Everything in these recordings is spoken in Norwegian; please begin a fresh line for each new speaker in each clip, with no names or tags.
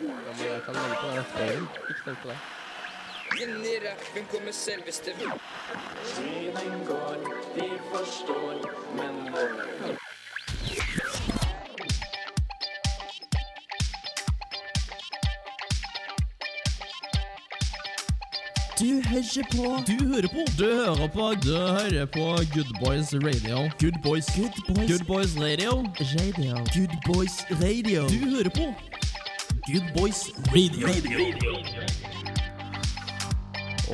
Ja, men jeg kan vente på den rasperen. Ikke tenk på det.
Inn i rappen kommer selveste
Tiden går, de forstår, men hvor?
Du hører på
Du hører på. Du hører på. Du hører på Good Boys Radio. Good Boys. Good Boys. Good Boys Radio.
Radio.
Good Boys Radio. Du hører på. Good Boys Radio.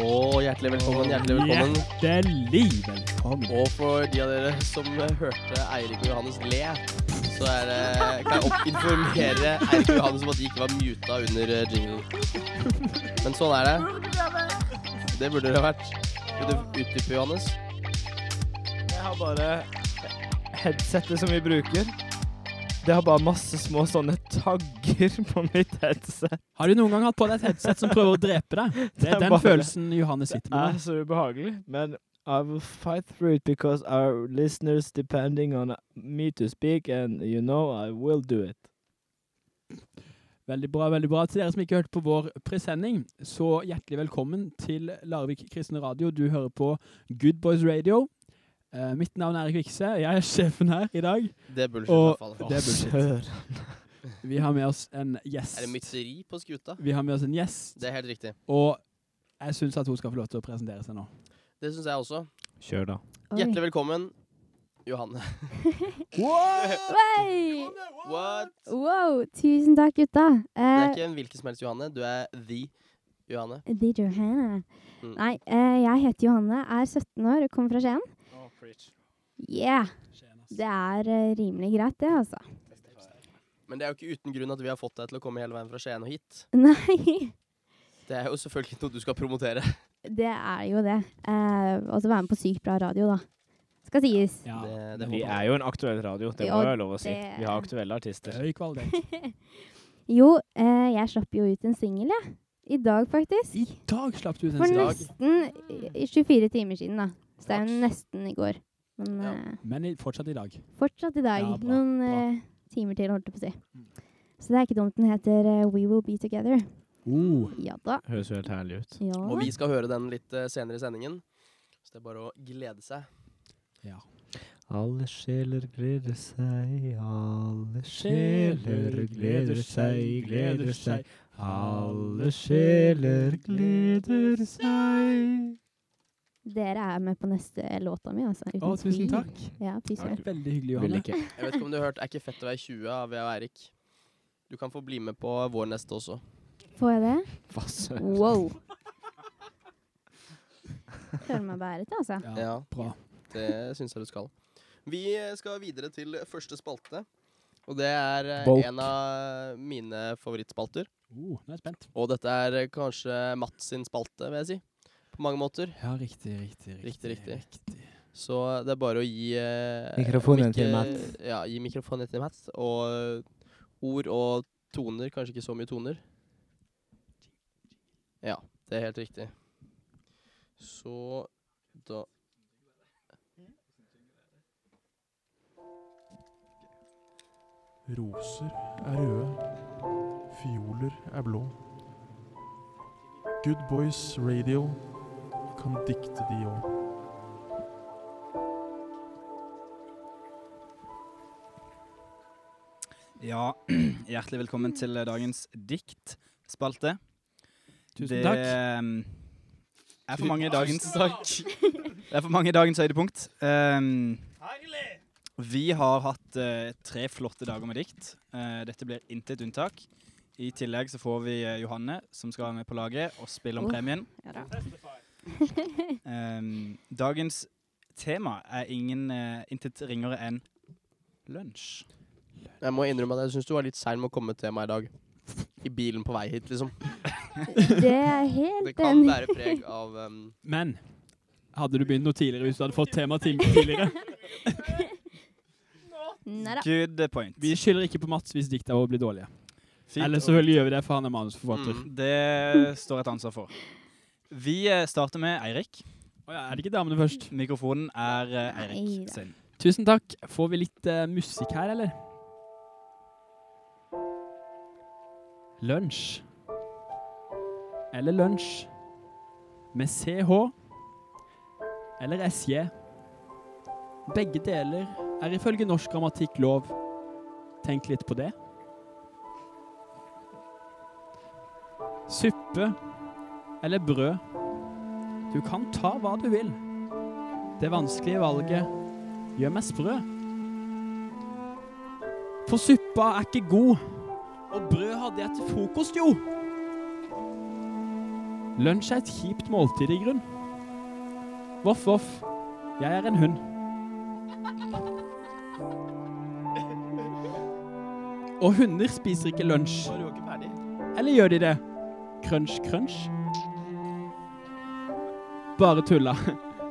Og hjertelig velkommen, hjertelig velkommen.
Hjertelig velkommen.
Og for de av dere som eh, hørte Eirik og Johannes le, så er det, kan jeg opp- informere Eirik og Johannes om at de ikke var muta under eh, jinglen. Men sånn er det. Det burde det vært. Vil du utdype, Johannes?
Jeg har bare headsetet som vi bruker. Det har bare masse små sånne tagger på mitt headset.
Har du noen gang hatt på deg et headset som prøver å drepe deg? Det
Det er
er den
bare-
følelsen Johannes sitter
Det er
med.
så ubehagelig. Men I will fight through it because our listeners depending on me to speak, and you know I will do it.
Veldig bra, veldig bra. Til dere som ikke hørte på vår presending, så hjertelig velkommen til Larvik kristne radio. Du hører på Good Boys Radio. Eh, mitt navn er Erik Vikse. Jeg er sjefen her i dag.
Det er bullshit.
Og-
i hvert fall.
det er bullshit.
Søren.
Vi har med oss en gjest.
Er det mytteri på skuta?
Vi har med oss en gjest,
Det er helt riktig.
og jeg syns at hun skal få lov til å presentere seg nå.
Det syns jeg også.
Kjør, da.
Hjertelig velkommen, Johanne.
Oi!
What?
Wow, tusen takk, gutta.
Det
Eh,
er ikke en hvilken som helst Johanne. Du er the Johanne.
det er Johanne.
Mm.
Nei, eh, jeg heter Johanne, er 17 år og kommer fra Skien. Yeah, det er eh, rimelig greit, det, altså.
Men det er jo ikke uten grunn at vi har fått deg til å komme hele veien fra Skien og hit.
Nei,
Det er jo selvfølgelig noe du skal promotere.
det er jo det. Eh, og så være med på sykt bra radio, da. Skal sies.
Ja,
Det- det
det
får
var
Vi
bra.
er jo en aktuell radio, det
Ja,
må jo være lov å si.
det-
Vi har aktuelle artister.
Høy kvalitet.
Jo, eh, jeg slapp jo ut en singel, jeg. I dag, faktisk.
I dag slapp du ut en
For
dag.
side.
nesten i- i 24 timer siden, da. Så det er jo
Flaks.
nesten i går. Men
Ja.
eh,
Men i- fortsatt i dag.
Fortsatt i dag.
Ja, bra,
Noen
bra.
eh, timer til, holdt jeg på å si. Så det er ikke dumt. Den heter eh, We Will Be Together. Ja da.
Høres jo helt herlig ut.
Ja.
Og vi skal høre den litt eh, senere i sendingen. Så det er bare å glede seg.
Ja.
Alle sjeler gleder seg, alle
Sjeler gleder seg, gleder seg. Alle sjeler gleder
seg.
Dere er med på neste låta mi, altså. uten
Å, tusen
tvil.
takk.
Ja, tusen takk.
Veldig
Vil
hyggelig, Johanne.
ikke.
Jeg vet ikke om du har hørt 'Er ikke fett å være 20' av Vea og Eirik. Du kan få bli med på vår neste også.
Får jeg det?
Hva søren?
Wow. Føler meg bæret, altså.
Ja,
Bra.
det syns jeg du skal. Vi eh, skal videre til første spalte. Og det er eh,
Bolt.
en av mine favorittspalter.
Oh, nå er jeg spent.
Og dette er eh, kanskje Mats sin spalte, vil jeg si. På mange måter.
Ja, riktig, riktig.
Riktig, riktig. Så det er bare å gi eh,
Mikrofonen
mikke-
til Mats.
Ja, gi mikrofonen til Mats. Og eh, ord og toner, kanskje ikke så mye toner. Ja, det er helt riktig. Så da
Roser er røde, fioler er blå. Good Boys Radio kan dikte de òg.
Ja, hjertelig velkommen til eh, dagens diktspalte.
Tusen takk.
Ehm, Det er for mange dagens Det er for mange dagens høydepunkt. Ehm, vi har hatt eh, tre flotte dager med dikt. Eh, dette blir intet unntak. I tillegg så får vi eh, Johanne, som skal være med på laget og spille om
Oh.
premien.
Ja da.
Ehm, dagens tema er ingen eh, intet ringere enn lunsj.
Jeg må innrømme at jeg syns du var litt sein med å komme til meg i dag. I bilen på vei hit, liksom.
Det er
Det
helt
kan
enig.
være preg av um,
Men hadde du begynt noe tidligere hvis du hadde fått tema tim- tidligere?
Nei da.
Good point.
Vi skylder ikke på Mats hvis dikta våre blir dårlige.
Fint.
Eller selvfølgelig gjør vi det, for han er manusforfatter.
mm.
Det står et ansvar for. Vi eh, starter med Eirik.
Å ja, er det ikke damene først?
Mikrofonen er eh,
Nei da.
Eirik sin.
Tusen takk. Får vi litt eh, musikk her, eller? Lunsj. Eller lunsj. Med CH. Eller SJ. Begge deler er ifølge norsk grammatikk lov. Tenk litt på det. Suppe eller brød. Du kan ta hva du vil. Det vanskelige valget gjør meg sprø. For suppa er ikke god, og brød hadde jeg til frokost, jo. Lunsj er et kjipt måltid i grunn. Voff, voff, jeg er en hund. Og hunder spiser ikke lunsj. Eller gjør de det? Crunch, crunch. Bare tulla.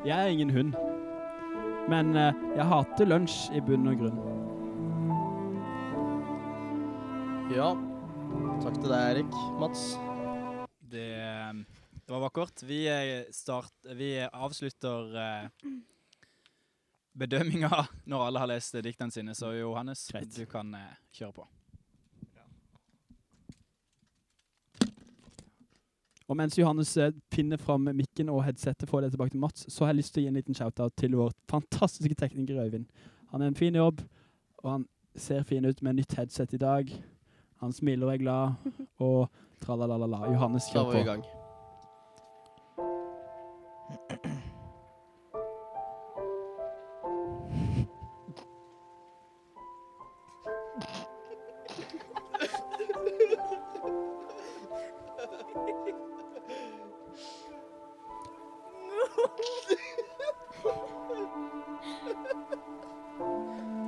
Jeg er ingen hund. Men eh, jeg hater lunsj i bunn og grunn.
Ja. Takk til deg, Erik. Mats.
Det, det var vakkert. Vi, eh, start, vi avslutter eh, bedømminga når alle har lest diktene sine, så Johannes, du kan eh, kjøre på.
Og mens Johannes eh, pinner fram mikken og headsetet får det tilbake til Mats, så har jeg lyst til å gi en liten shoutout til vår fantastiske tekniker Øyvind. Han er en fin jobb, og han ser fin ut med nytt headset i dag. Han smiler og er glad, og tralalala. Johannes,
Da
kjør
var
på.
vi i gang.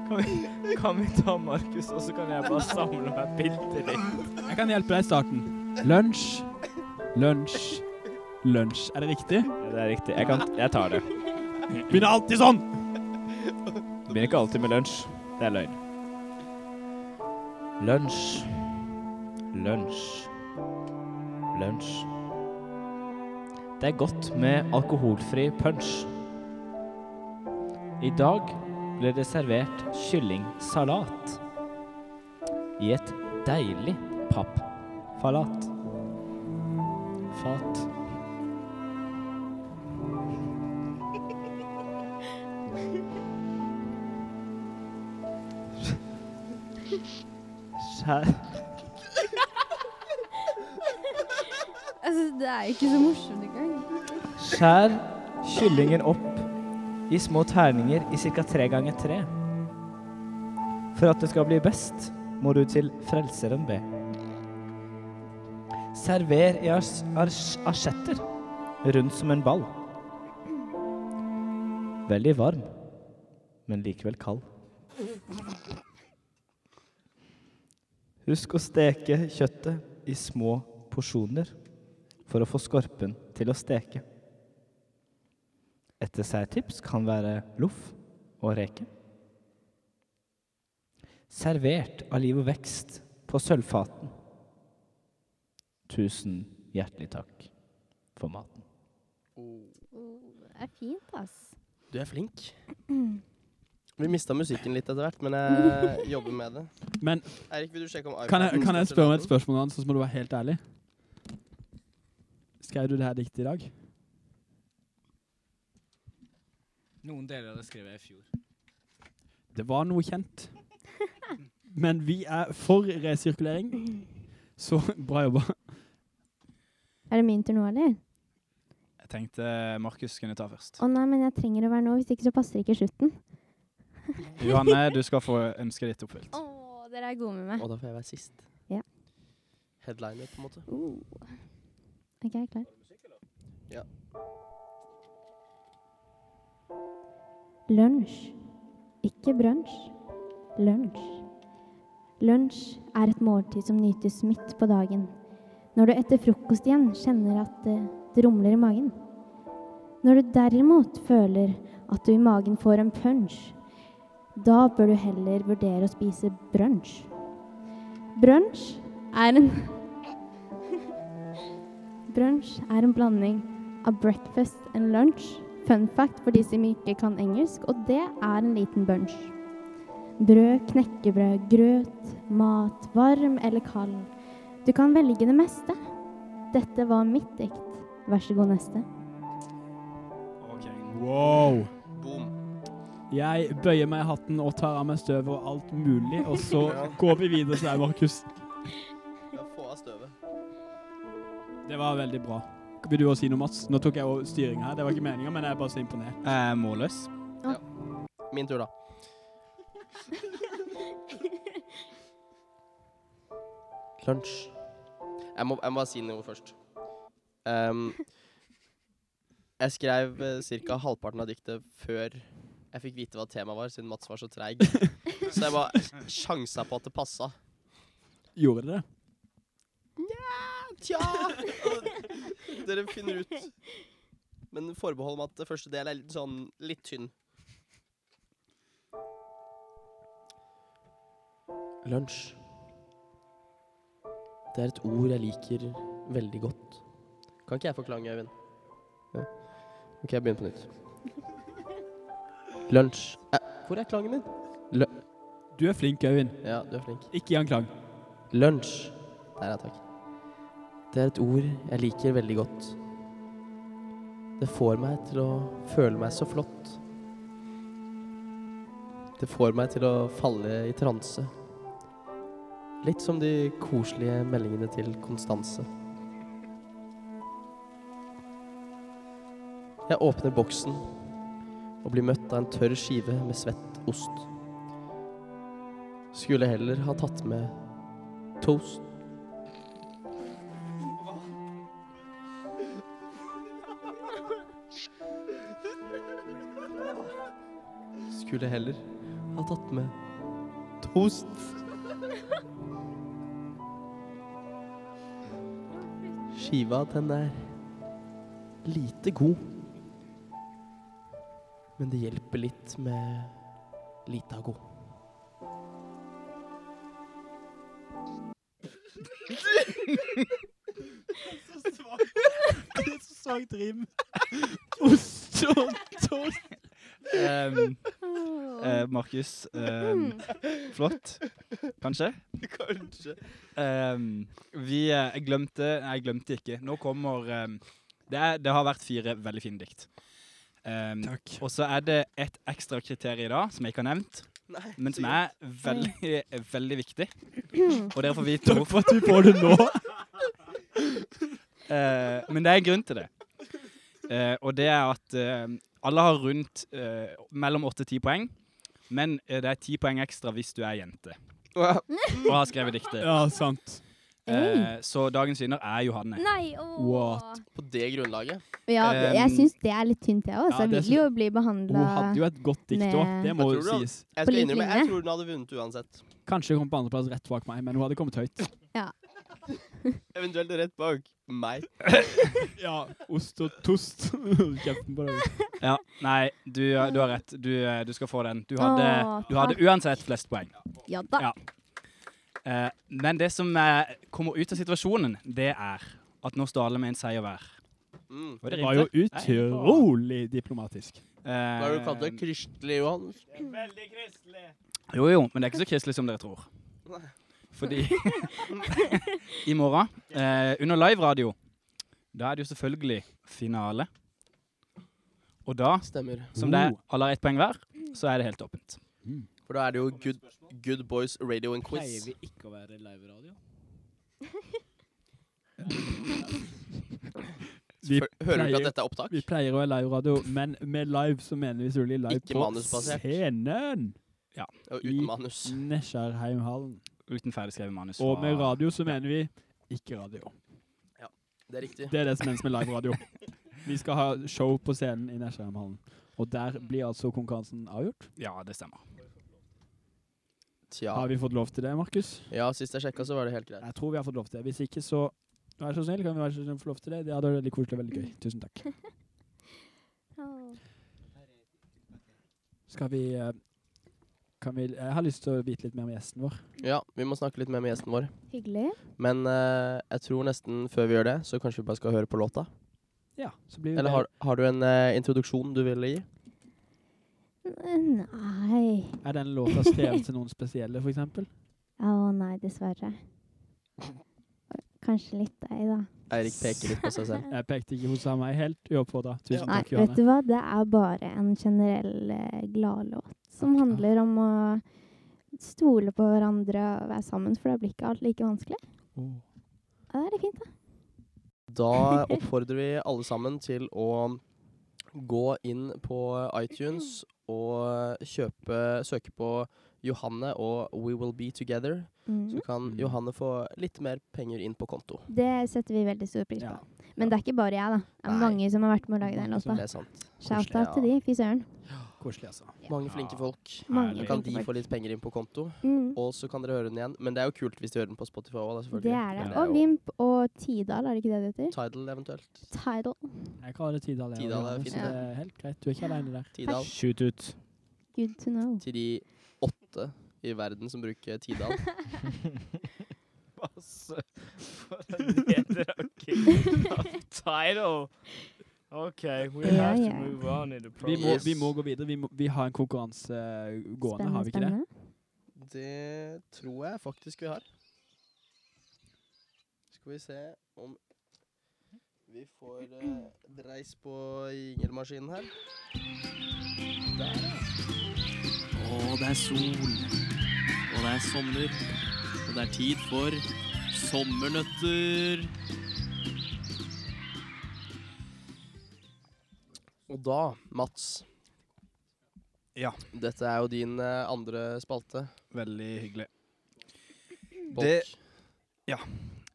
Kan vi, kan vi ta Markus, og så kan jeg bare samle meg bilder litt?
Jeg kan hjelpe deg i starten. Lunsj, lunsj, lunsj. Er det riktig?
Det er riktig. Jeg, kan, jeg tar det.
Begynner alltid sånn!
Begynner ikke alltid med lunsj. Det er løgn.
Lunsj. Lunsj. Lunsj. Det er godt med alkoholfri punch. I dag ble det servert kyllingsalat i et deilig pappfalat. Fat.
Skjær.
Altså, det er jo ikke så morsomt engang.
Skjær kyllingen opp i små terninger i ca. tre ganger tre. For at det skal bli best, må du til Frelseren be. Server i ars- ars- asjetter rundt som en ball. Veldig varm, men likevel kald.
Husk å steke kjøttet i små porsjoner for å få skorpen til å steke.
Et desserttips kan være loff og reke. Servert av liv og vekst på sølvfaten. Tusen hjertelig takk for maten.
Det er fint, ass.
Du er flink. Vi mista musikken litt etter hvert, men jeg jobber med det.
Men
Eirik, vil du sjekke om
kan jeg,
iPaden
kan jeg
starter
spørre om et
laden?
spørsmål, Hans, så må du være helt ærlig? Skrev du det her diktet i dag?
Noen deler av det skrev jeg i fjor.
Det var noe kjent. Men vi er for resirkulering, så bra jobba.
Er det min tur nå, eller?
Jeg tenkte Markus kunne ta først.
Å nei, men jeg trenger å være nå, hvis ikke så passer ikke slutten.
Johanne, du skal få ønsket ditt oppfylt.
Å, dere er gode med meg.
Å, da får jeg være sist.
Ja.
Headliner, på en måte.
Ok, jeg er klar.
Ja.
Lunsj. Ikke brunsj. Lunsj. Lunsj er et måltid som nytes midt på dagen. Når du etter frokost igjen kjenner at det, det rumler i magen. Når du derimot føler at du i magen får en punch, da bør du heller vurdere å spise brunsj. Brunsj er en Brunsj er en blanding av breakfast and lunch. Fun fact for de som ikke kan engelsk, og det er en liten bunch. Brød, knekkebrød, grøt, mat, varm eller kald. Du kan velge det meste. Dette var mitt dikt. Vær så god, neste.
Wow. Jeg bøyer meg i hatten og tar av meg støvet og alt mulig, og så
Ja.
går vi videre til deg, Markus.
Ja, få av støvet.
Det var veldig bra. Vil du også si noe, Mats? Nå tok jeg over styring her. Det var ikke meninga, men jeg er bare så imponert.
Jeg er målløs.
Ja. Min tur, da. Lunsj. Jeg må, jeg må bare si noe først. Ehm, jeg skrev eh, ca. halvparten av diktet før jeg fikk vite hva temaet var, siden Mats var så treig. Så jeg bare sjansa på at det passa.
Gjorde det?
Tja! Dere finner ut. Men forbehold meg at det første del er litt sånn litt tynn. Lunsj. Det er et ord jeg liker veldig godt. Kan ikke jeg forklange, Øyvind? Ja. OK, jeg begynner på nytt. Lunsj. Eh, Hvor er klangen min? Lø
du er flink, Øyvind.
Ja, du er flink.
Ikke gi han klang.
Lunsj. Der, ja, takk. Det er et ord jeg liker veldig godt. Det får meg til å føle meg så flott. Det får meg til å falle i transe. Litt som de koselige meldingene til Konstanse. Jeg åpner boksen og blir møtt av en tørr skive med svett ost. Skulle heller ha tatt med toast. Skulle heller ha tatt med toast. Skiva, den er lite god. Men det hjelper litt med lita god.
Det er så svakt rim. Ost og toast.
Um, eh, Markus, um, flott. Kanskje?
Kanskje.
Um, vi eh, jeg glemte Nei, jeg glemte ikke. Nå kommer um, det, er, det har vært fire veldig fine dikt. Um, Og så er det et ekstra kriterium i dag som jeg ikke har nevnt,
Nei.
men som er veldig, veldig viktig. Og dere får vite
Takk for at du får det
nå. men det er en grunn til det. Eh, og det er at eh, alle har rundt eh, mellom 8 og 10 poeng, men eh, det er 10 poeng ekstra hvis du er jente. Og har skrevet diktet.
Ja, sant.
Eh, så dagens vinner er Johanne.
Nei, åh.
På det grunnlaget?
Ja, det- jeg syns det er litt tynt, jeg òg.
Um, ja,
Så jeg
det
vil jo bli behandla
Jeg tror du- Jeg
På
skal
lik
innrømme, jeg
linje.
tror hun hadde vunnet uansett.
Kanskje hun kom på andreplass rett bak meg, men hun hadde kommet høyt.
Ja.
Eventuelt rett bak meg.
ja, ost og tost. Kjeften på deg.
Ja, nei, du, du har rett. Du, eh, du skal få den. Du hadde,
Åh,
du hadde
takk.
uansett flest poeng.
Ja da.
Ja. Eh, men det som eh, kommer ut av situasjonen, det er at nå står alle med en seier hver.
Mm.
Og
Det var jo
rimte.
utrolig diplomatisk.
Eh,
Hva er det du kalte det? Kristelig Johannes?
Veldig kristelig.
Eh, Jo, jo, men det er ikke så kristelig som dere tror. Fordi i morgen, eh, under live-radio, da er det jo selvfølgelig finale. Og da, som det
Oh.
er alle har ett poeng hver, så er det helt åpent.
For da er det jo Good, good Boys Radio and
Pleier
Quiz.
vi ikke å være live-radio?
Vi
Hører du ikke at dette er opptak?
Vi pleier å være live-radio, men med live så mener vi selvfølgelig live
Ikke
på
manusbasert.
scenen.
Ja,
og uten
I Nesjarheimhallen.
Uten ferdigskrevet manus.
Og med
fra-
radio så mener vi ikke radio.
Det er riktig.
Det er det som menes med live-radio. Vi skal ha show på scenen i Nesjarheimhallen. Og der blir altså konkurransen avgjort.
Ja, det stemmer.
Tja.
Har vi fått lov til det, Markus?
Ja, sist jeg sjekka, så var det helt greit.
Jeg tror vi har fått lov til det. Hvis ikke, så vær så snill, kan vi være så snill få lov til det? Det hadde vært veldig koselig og veldig gøy. Tusen takk. Skal vi eh, kan vi, Jeg har lyst til å vite litt mer om gjesten vår.
Ja, vi må snakke litt mer med gjesten vår.
Hyggelig.
Men eh, jeg tror nesten før vi gjør det, så kanskje vi bare skal høre på låta.
Ja, så blir vi
Eller har, har du en eh, introduksjon du vil gi?
Nei.
Er den låta skrevet til noen spesielle, for eksempel?
Å nei, dessverre. Kanskje litt deg, da.
Eirik peker litt på seg selv.
Jeg pekte ikke hos meg helt uoppfordra. Tusen
Nei,
takk,
vet du
Johanne.
hva? Det er bare en generell eh, gladlåt som handler om å stole på hverandre og være sammen, for da blir ikke alt like vanskelig. Ja, det er litt fint, da.
Da oppfordrer vi alle sammen til å gå inn på iTunes og kjøpe søke på Johanne og We Will Be Together.
Mhm.
Så kan Johanne få litt mer penger inn på konto.
Det setter vi veldig stor pris på. Men det er ikke bare jeg, da. Det er mange som har vært med å lage den
Mange som-
låta.
Det er sant.
Shout
Koselig,
out til de, fy søren.
Koselig, altså.
Mange flinke folk.
Mange
Da kan
flinke
de
folk.
få litt penger inn på konto,
Mhm.
og så kan dere høre den igjen. Men det er jo kult hvis de hører den på Spotify òg, selvfølgelig.
Det er det.
Men
Og
jo
Vimp og Tidal, er det ikke det det heter?
Tidal eventuelt.
Tidal.
Jeg kaller det Tidal. jeg,
Tidal er
Johanne,
fint.
så det er helt greit. Du er ikke aleine der.
Tidal.
Shoot ut.
Good to know.
Til de åtte i verden som bruker Tidal.
Basse for en nedrakking av title. OK, we
Ja,
have
ja.
to move on in the
Vi må,
process.
vi må gå videre. Vi, må, vi har en konkurranse eh, gående, har vi ikke det?
Det tror jeg faktisk vi har. Skal vi se om vi får eh, dreis på jingelmaskinen her. Der, ja. Å, det er sol. Og det er sommer. Og det er tid for sommernøtter. Og da, Mats.
Ja.
Dette er jo din eh, andre spalte.
Veldig hyggelig.
Bolk.
ja.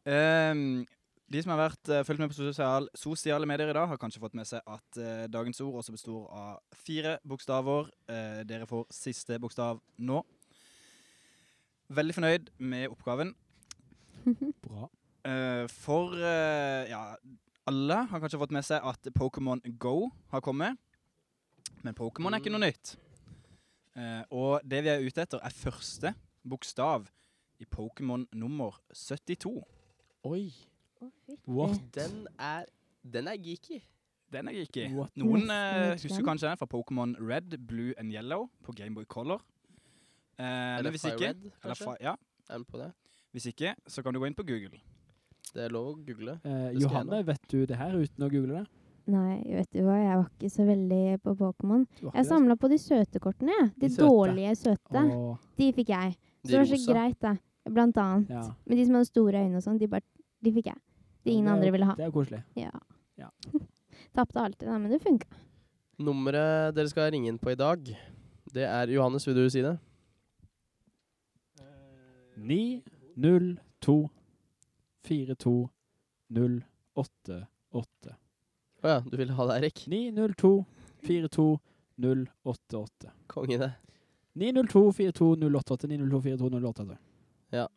Ehm, de som har vært, eh, fulgt med på sosial, sosiale medier i dag, har kanskje fått med seg at eh, dagens ord også består av fire bokstaver. Eh, dere får siste bokstav nå. Veldig fornøyd med oppgaven.
Bra.
Eh, for eh, ja, alle har kanskje fått med seg at Pokémon Go har kommet. Men Pokémon er ikke noe nytt. Eh, og det vi er ute etter, er første bokstav i Pokémon nummer 72.
Oi.
What?
Den er, den er geeky.
Den er geeky.
What?
Noen
Nesten
eh,
litt
husker
glemt.
kanskje den fra Pokémon Red, Blue and Yellow på Gameboy Color. Eh, men hvis
Fire
ikke,
Red,
eller
kanskje?
Fi- ja.
Er den på det?
Hvis ikke, så kan du gå inn på Google.
Det er lov å google.
Eh, Johanne, vet du det her uten å google det?
Nei, vet du hva, jeg var ikke så veldig på Pokémon.
var ikke
Jeg
det,
samla på de søte kortene, jeg. De,
De søte.
dårlige søte.
Åh.
De fikk jeg.
De
Så det var så
rosa.
greit, da. Blant annet.
Ja.
Men de som hadde store øyne og sånn, de, bare- de fikk jeg. De
Ja, det er
ingen
jo-
andre ville ha.
det er jo koselig.
Ja.
Ja.
Tapte alltid, da, men det funka.
Nummeret dere skal ringe inn på i dag, det er Johannes, vil du si det?
9 0 2 4 2 0 8 8.
Å ja, du vil ha det, Erik?
9 0 2 4 2 0 8 8.
Konge, det.
9 0 2 4 2 0 8 8. 9 0 2 4 2 0 8 8.
Ja.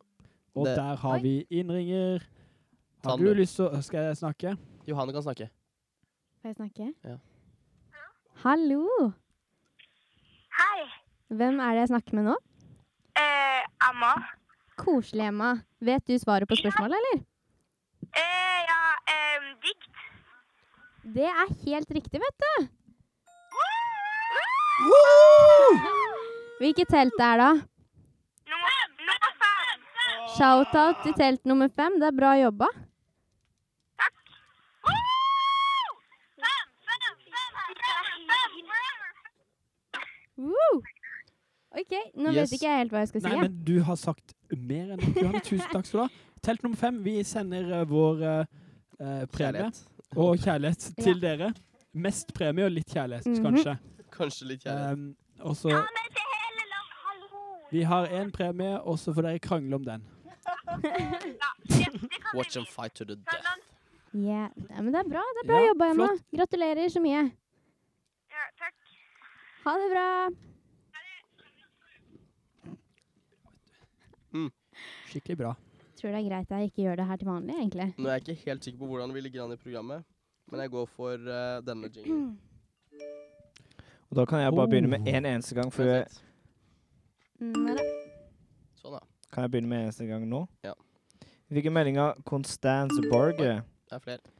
Og
Det-
der har vi innringer.
Ta
Har
den,
du
du.
lyst til å Skal jeg snakke?
Johanne kan snakke.
Får jeg snakke?
Ja.
Hallo!
Hei,
Hvem er det jeg snakker med nå?
eh, Amma.
Koselig, Emma. Vet du svaret på spørsmålet, eller?
Eh, ja, eh, dikt.
Det er helt riktig, vet du. Hvilket telt det er, da?
Nummer fem.
Shoutout til telt nummer fem. Det er bra jobba.
Fem, fem, fem, fem, fem, fem.
Woo! OK, nå vet ikke jeg helt hva jeg skal si.
Nei,
jeg.
men du har sagt mer enn nok. Johanne, tusen takk skal du ha. Telt nummer fem, vi sender eh, vår eh, eh, premie
Kjærlighet.
og kjærlighet til dere. Mest premie og litt kjærlighet,
Mhm.
kanskje.
Kanskje litt kjærlighet.
Um, og så Vi har en premie, og så får dere krangle om den.
Watch them fight to the death.
Yeah. Nei, men det er bra. Det er bra
Ja,
jobba, Emma. Gratulerer så mye.
Ja, takk.
Ha det bra.
Skikkelig bra.
Tror det er greit jeg ikke gjør det her til vanlig, egentlig.
Nå er jeg ikke helt sikker på hvordan vi ligger an i programmet, men jeg går for eh, denne jingen.
Og da kan jeg bare begynne
Oh.
med en eneste gang, for jeg,
Nei da.
Sånn, da.
kan jeg begynne med en eneste gang nå?
Ja.
Hvilke meldinger Constance Barge
Det er flere.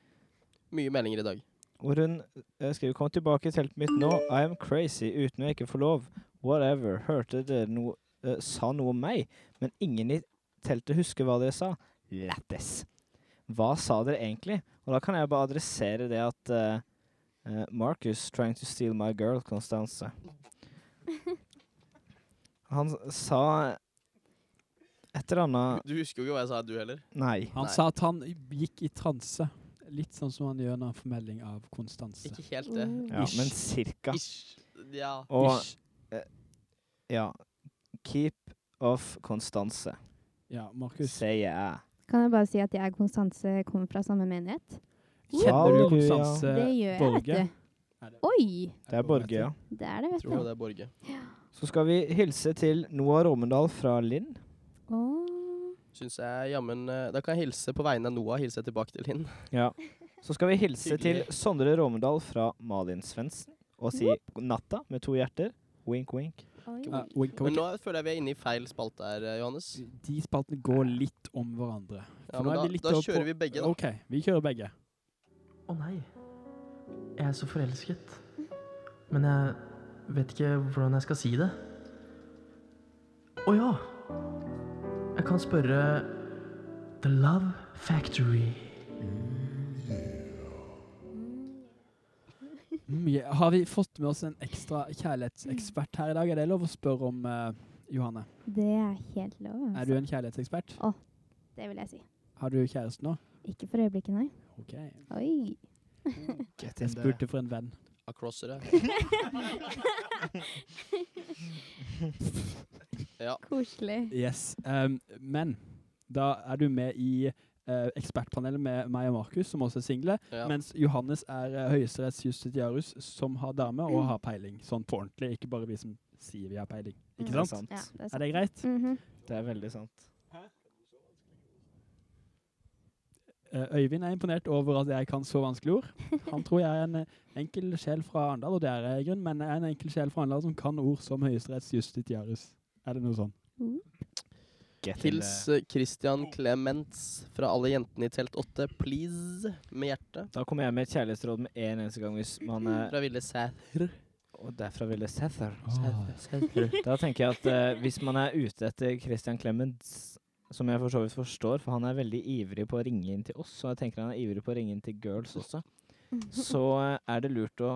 Mye meldinger i dag.
hvor hun eh, skriver Kom tilbake i teltet mitt nå. I am crazy uten jeg ikke får lov. Whatever. Hørte dere noe eh, Sa noe om meg? Men ingen i teltet husker hva dere sa. Lættis.
hva sa dere egentlig? Og da kan jeg bare adressere det at eh, eh, Marcus trying to steal my girl, Constance. Han s- sa et eller annet
Du husker jo ikke hva jeg sa, du heller.
Nei.
Han sa at han gikk i transe. Litt sånn som han gjør når han får melding av Konstanse.
Ikke helt det.
Mm.
Ja,
Ish.
men cirka.
Ish. Ja.
Og
Ish.
eh, Ja. Keep off Constanse.
Ja, Markus.
Sier jeg.
Kan jeg bare si at jeg og Konstanse kommer fra samme menighet?
Kjenner du Konstanse
Det gjør jeg,
Borge?
vet du. Oi!
Det er Borge, ja.
Det er det, vet
Tror
du.
det er Borge.
Så skal vi hilse til Noah Romendal fra Linn.
Synes jeg jammen eh, Da kan jeg hilse på vegne av Noah. Hilse tilbake til Linn.
Ja. Så skal vi hilse til
Hyggelig.
Sondre Romendal fra Malin Svendsen og si god natta med to hjerter. Wink, wink.
Ja, wink,
Men
wink.
nå føler jeg vi er inne i feil spalte her, eh, Johannes.
De spaltene går litt om hverandre.
Ja,
For nå
men
er
da-
vi litt
da
over
kjører vi begge, da.
OK, vi kjører begge.
Å nei, jeg er så forelsket. Men jeg vet ikke hvordan jeg skal si det. Å ja! Jeg kan spørre The Love Factory.
Mm.
Mye. Mm, Har vi fått med oss en ekstra kjærlighetsekspert her i dag? Er det lov å spørre om, eh, Johanne?
Det er helt lov.
Er
Altså.
du en kjærlighetsekspert?
Å, det vil jeg si.
Har du kjæreste nå?
Ikke for øyeblikket, nei.
OK.
Oi.
Jeg spurte for en venn.
Across det. ja.
Koselig.
Yes. Um, men da er du med i eh, ekspertpanelet med meg og Markus, som også er single,
Ja.
mens Johannes er uh, høyesterettsjustitiarius, som har dame og har peiling. Sånn på ordentlig, ikke bare vi som sier vi har peiling. Ikke
Mm.
sant?
Det er sant. Ja, det er
er, det greit?
Mhm.
Det er veldig sant.
Eh, Øyvind er imponert over at jeg kan så vanskelige ord. Han tror jeg er en eh, enkel sjel fra Arendal, og det er jeg i grunnen, men jeg er en enkel sjel fra Arendal som kan ord som høyesterettsjustitiarius. Er det noe sånn?
Hils eh, Christian Clements fra alle jentene i telt 8, please, med hjerte.
Da kommer jeg med et kjærlighetsråd med en eneste gang hvis man er
eh,
Fra Ville Sæther.
Og det er fra Ville Sæther.
Sæther, Sæther.
Da tenker jeg at eh, hvis man er ute etter Christian Clemens, som jeg for så vidt forstår, for han er veldig ivrig på å ringe inn til oss, og jeg tenker han er ivrig på å ringe inn til girls også, så eh, er det lurt å,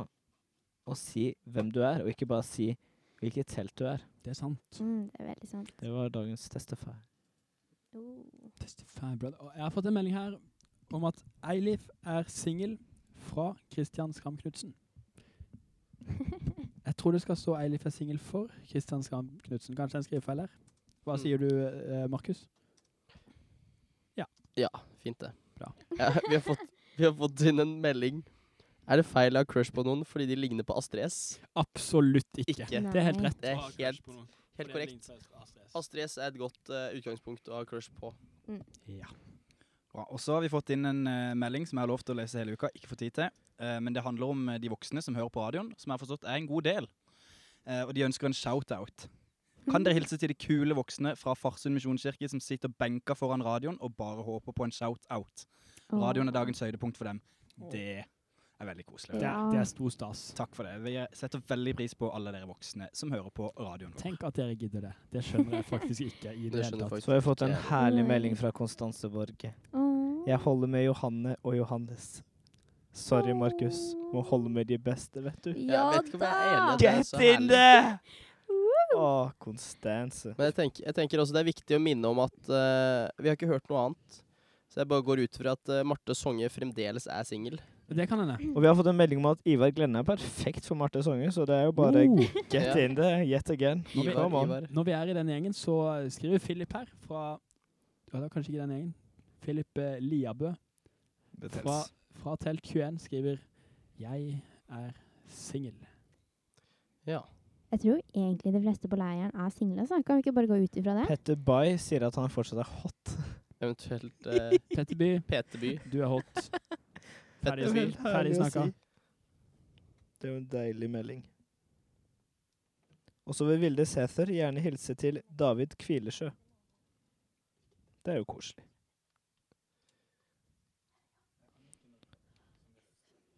å si hvem du er, og ikke bare si hvilket telt du er.
Det er sant.
Mm, det er veldig sant.
Det var dagens testify.
Testify Brother. Og jeg har fått en melding her om at Eilif er singel fra Christian Skram Knutsen. Jeg tror det skal stå Eilif er singel for Christian Skram Knutsen. Kanskje en skrivefeil her. Hva sier du, eh, Markus?
Ja, fint det. Ja, vi, har fått, vi har fått inn en melding. Er det feil å ha crush på noen fordi de ligner på Astrid S?
Absolutt ikke.
Ikke.
Det er helt rett.
Det er helt, helt korrekt. Astrid S er et godt eh, utgangspunkt å ha crush på.
Ja.
Bra. Og så har vi fått inn en eh, melding som jeg har lov til å lese hele uka, ikke får tid til. Eh, men det handler om eh, de voksne som hører på radioen, som jeg har forstått er en god del. Eh, og de ønsker en shout-out. Kan dere hilse til de kule voksne fra Farsund misjonskirke som sitter benka foran radioen og bare håper på en shout-out?
Oh.
Radioen er dagens høydepunkt for dem. Det er veldig koselig.
Det er- det er stor stas.
Takk for det. Vi setter veldig pris på alle dere voksne som hører på radioen.
Tenk at dere gidder det. Det skjønner jeg faktisk ikke. i det, hele tatt.
Så har jeg fått en herlig melding fra Konstanse Borge.
Oh.
Jeg holder med Johanne og Johannes. Sorry, Markus. Må holde med de beste, vet du.
Ja Jeg vet ikke om jeg er enig i at det er
Get
så
in
herlig.
there! Å, Konstanse.
Men jeg tenker, jeg tenker også det er viktig å minne om at eh, vi har ikke hørt noe annet. Så jeg bare går ut fra at eh, Marte Songe fremdeles er singel.
Det kan hende.
Og vi har fått en melding om at Ivar Glenne er perfekt for Marte Songe, så det er jo bare
Oh.
get
Ja.
in there, yet again.
Ivar,
Come on.
Ivar.
Når vi er i den gjengen, så skriver Philip her fra Ja, det er kanskje ikke den gjengen. Philip eh, Liabø
Betels.
fra, fra Telt 21 skriver 'Jeg er singel'.
Ja.
Jeg tror egentlig de fleste på leiren er single, så kan vi ikke bare gå ut ifra det?
Petter Bay sier at han fortsatt er hot.
Eventuelt uh,
Petterby,
Peterby.
du er hot. Ferdig,
Det er
ferdig,
vel herlig å
snakka.
si. Det er jo en deilig melding. Og så vil Vilde Sæther gjerne hilse til David Kvilesjø. Det er jo koselig.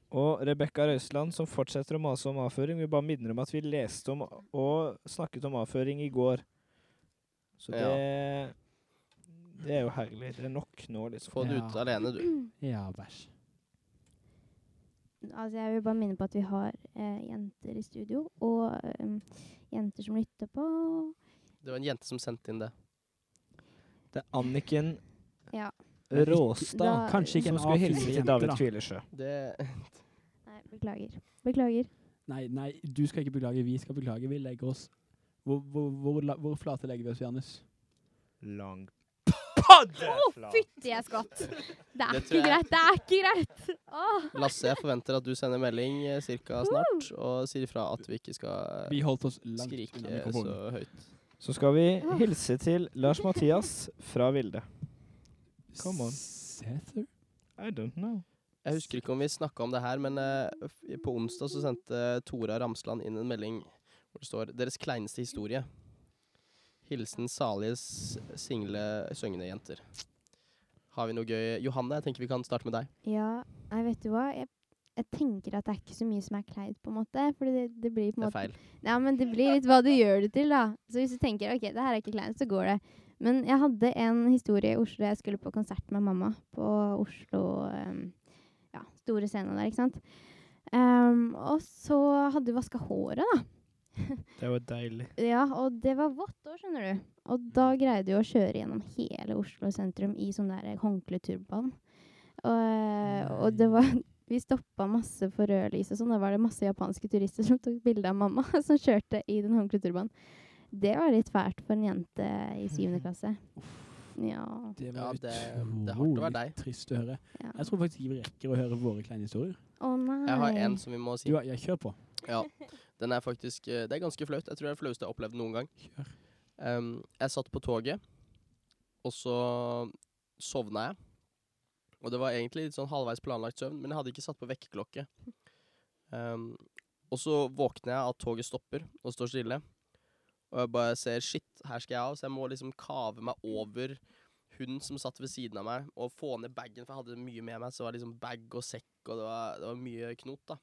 Og Rebekka Røiseland, som fortsetter å mase om avføring, vil bare minne om at vi leste om og snakket om avføring i går. Så det Det er jo herlig. Det er nok nå, liksom.
Få det ut alene, du.
Ja, bæsj.
Altså, jeg vil bare minne på at vi har eh, jenter i studio, og eh, jenter som lytter på.
Det var en jente som sendte inn det.
Det er Anniken
Ja.
Råstad
Da- Kanskje ikke en
som skulle
A4-jente,
hilse til David
da.
Tvilesjø.
Nei, beklager. Beklager.
Nei, nei, du skal ikke beklage. Vi skal beklage. Vi legger oss Hvor, hvor, hvor, la- hvor flate legger vi oss, Janus?
Lang
Å, fytti jeg skvatt! Det er
Det tror jeg-
ikke greit, det er ikke greit! Åh.
Lasse, jeg forventer at du sender melding eh, cirka snart, og sier ifra at vi ikke skal
Vi holdt oss langt
skrike
unna
eh, så
mikrofonen.
høyt.
Så skal vi hilse til Lars Mathias fra Vilde. Come on.
Sæther?
I don't know.
Jeg husker ikke om vi snakka om det her, men eh, f- på onsdag så sendte Tora Ramsland inn en melding hvor det står 'Deres kleineste historie'. Hilsen salige s- single syngende jenter. Har vi noe gøy? Johanne, jeg tenker vi kan starte med deg.
Ja, nei, vet du hva? Jeg, jeg tenker at det er ikke så mye som er kleint, på en måte. Fordi det, det blir på en
Det er
måte
feil.
Ja, men det blir litt hva du gjør det til, da. Så hvis du tenker ok, det her er ikke kleint, så går det. Men jeg hadde en historie i Oslo. Jeg skulle på konsert med mamma på Oslo ehm, ja, store scene der, ikke sant. Ehm, og så hadde hun vaska håret, da.
Det var deilig.
Ja, og det var vått òg, skjønner du. Og da greide hun å kjøre gjennom hele Oslo sentrum i sånn der håndkleturban. Og, eh, og det var Vi stoppa masse for rødlys og sånn. Da var det masse japanske turister som tok bilde av mamma som kjørte i den håndkleturbanen. Det var litt fælt for en jente i syvende klasse. Ja.
Det
Ja,
var
det- det er hardt å være
utrolig
deg.
trist å høre. Jeg tror faktisk ikke vi rekker å høre våre kleine historier.
Å nei.
Jeg har en som vi må si.
Du, jeg kjør på.
Ja. Den er faktisk eh, Det er ganske flaut. Jeg tror det er det flaueste jeg har opplevd noen gang. Em, jeg satt på toget, og så sovna jeg. Og det var egentlig litt sånn halvveis planlagt søvn, men jeg hadde ikke satt på vekkerklokke. Em, og så våkner jeg av at toget stopper og står stille. Og jeg bare ser shit, her skal jeg av, så jeg må liksom kave meg over hun som satt ved siden av meg, og få ned bagen, for jeg hadde mye med meg. Så det var liksom bag og sekk, og det var, det var mye knot, da.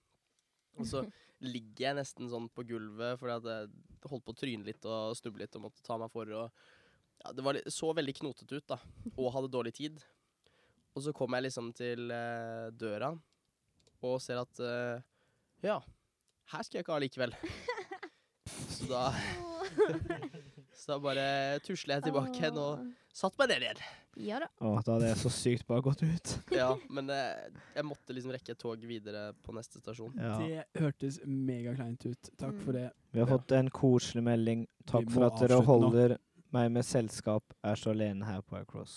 Og så ligger jeg nesten sånn på gulvet fordi at jeg holdt på å tryne litt og snuble litt og måtte ta meg for. Og ja, det var, li- så veldig knotete ut, da. Og hadde dårlig tid. Og så kom jeg liksom til eh, døra og ser at eh, Ja, her skal jeg ikke ha likevel. Så da Så da bare tusler jeg tilbake igjen og satte meg ned igjen.
Ja da.
Å, da hadde jeg så sykt bare gått ut.
Ja, men eh, jeg måtte liksom rekke et tog videre på neste stasjon.
Det hørtes megakleint ut. Takk for det.
Vi har fått en koselig melding. Takk
Vi
for
må
at dere
avslutte nå.
holder meg med selskap. Er så alene her på Across.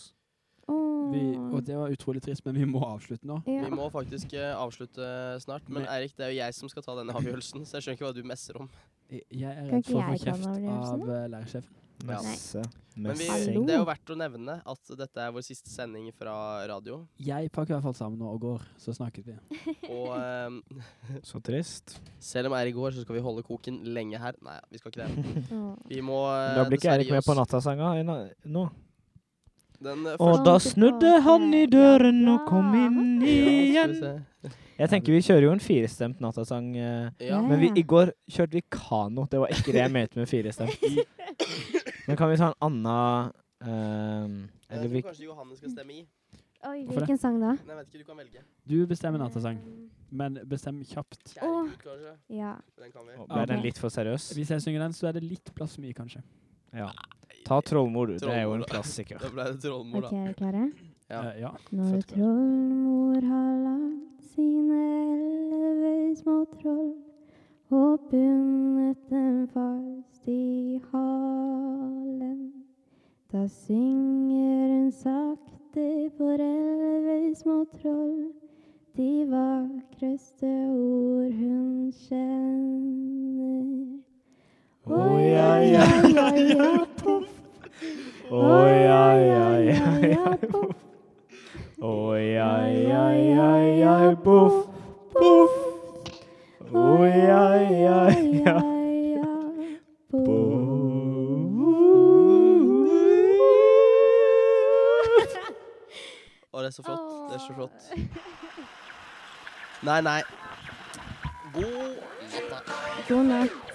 Mm.
Vi, og det var utrolig trist, men vi må avslutte nå.
Vi må faktisk eh, avslutte snart, men Eirik, det er jo jeg som skal ta denne avgjørelsen, så jeg skjønner ikke hva du messer om.
Jeg er
Kan
redd for å
ikke jeg ta
få
den
kjeft
avgjørelsen,
av eh, lærersjefen.
Ja.
Messe.
Men vi,
Messing.
det er jo verdt å nevne at dette er vår siste sending fra radio,
Jeg pakker i hvert fall sammen nå og går, så snakkes vi.
og ehm,
Så trist.
selv om Eirik går, så skal vi holde koken lenge her. Nei, vi skal ikke det. Vi må eh,
Da blir ikke
dessverre
Erik
gi
med på
oss.
nattasanga i na- nå.
Den, eh,
Og
første-
da snudde han i døren og kom inn
Ja,
igjen.
skal
Jeg tenker vi kjører jo en firestemt nattasang. eh,
Ja.
Men vi, i går kjørte vi kano. Det var ikke det jeg mente med firestemt. Men kan vi ta en annen ehm,
Jeg
Eller
tror
vi
kanskje Johanne skal stemme i.
Oi,
Hvorfor det?
hvilken sang da?
Nei, jeg vet ikke, du kan velge.
Du bestemmer nattasang, men bestem kjapt.
Kjærlighet, kanskje?
Ja.
Den kan vi.
Ble den litt for seriøs?
Hvis jeg synger den, så er det litt plass for mye, kanskje.
Ja. Ta Trollmor, du. Det er jo en
Trollmor, da.
klassiker.
Da ble det trollmor,
Ok,
da.
er dere klare?
Ja.
Eh,
Når trollmor har lagd sine elleve små troll og bundet dem fast i halen, da synger hun sakte for elleve små troll de vakreste ord hun kjenner. Oi, oi, oi, oi, oi, poff.
Oi, oi, oi, oi,
oi, poff.
Oi, oi, oi, oi, oi, boff, boff. Oi, oi, oi, oi, oi, boff.
Å, det er så flott. Det er så flott. Nei, nei. God natt. da.
God natt.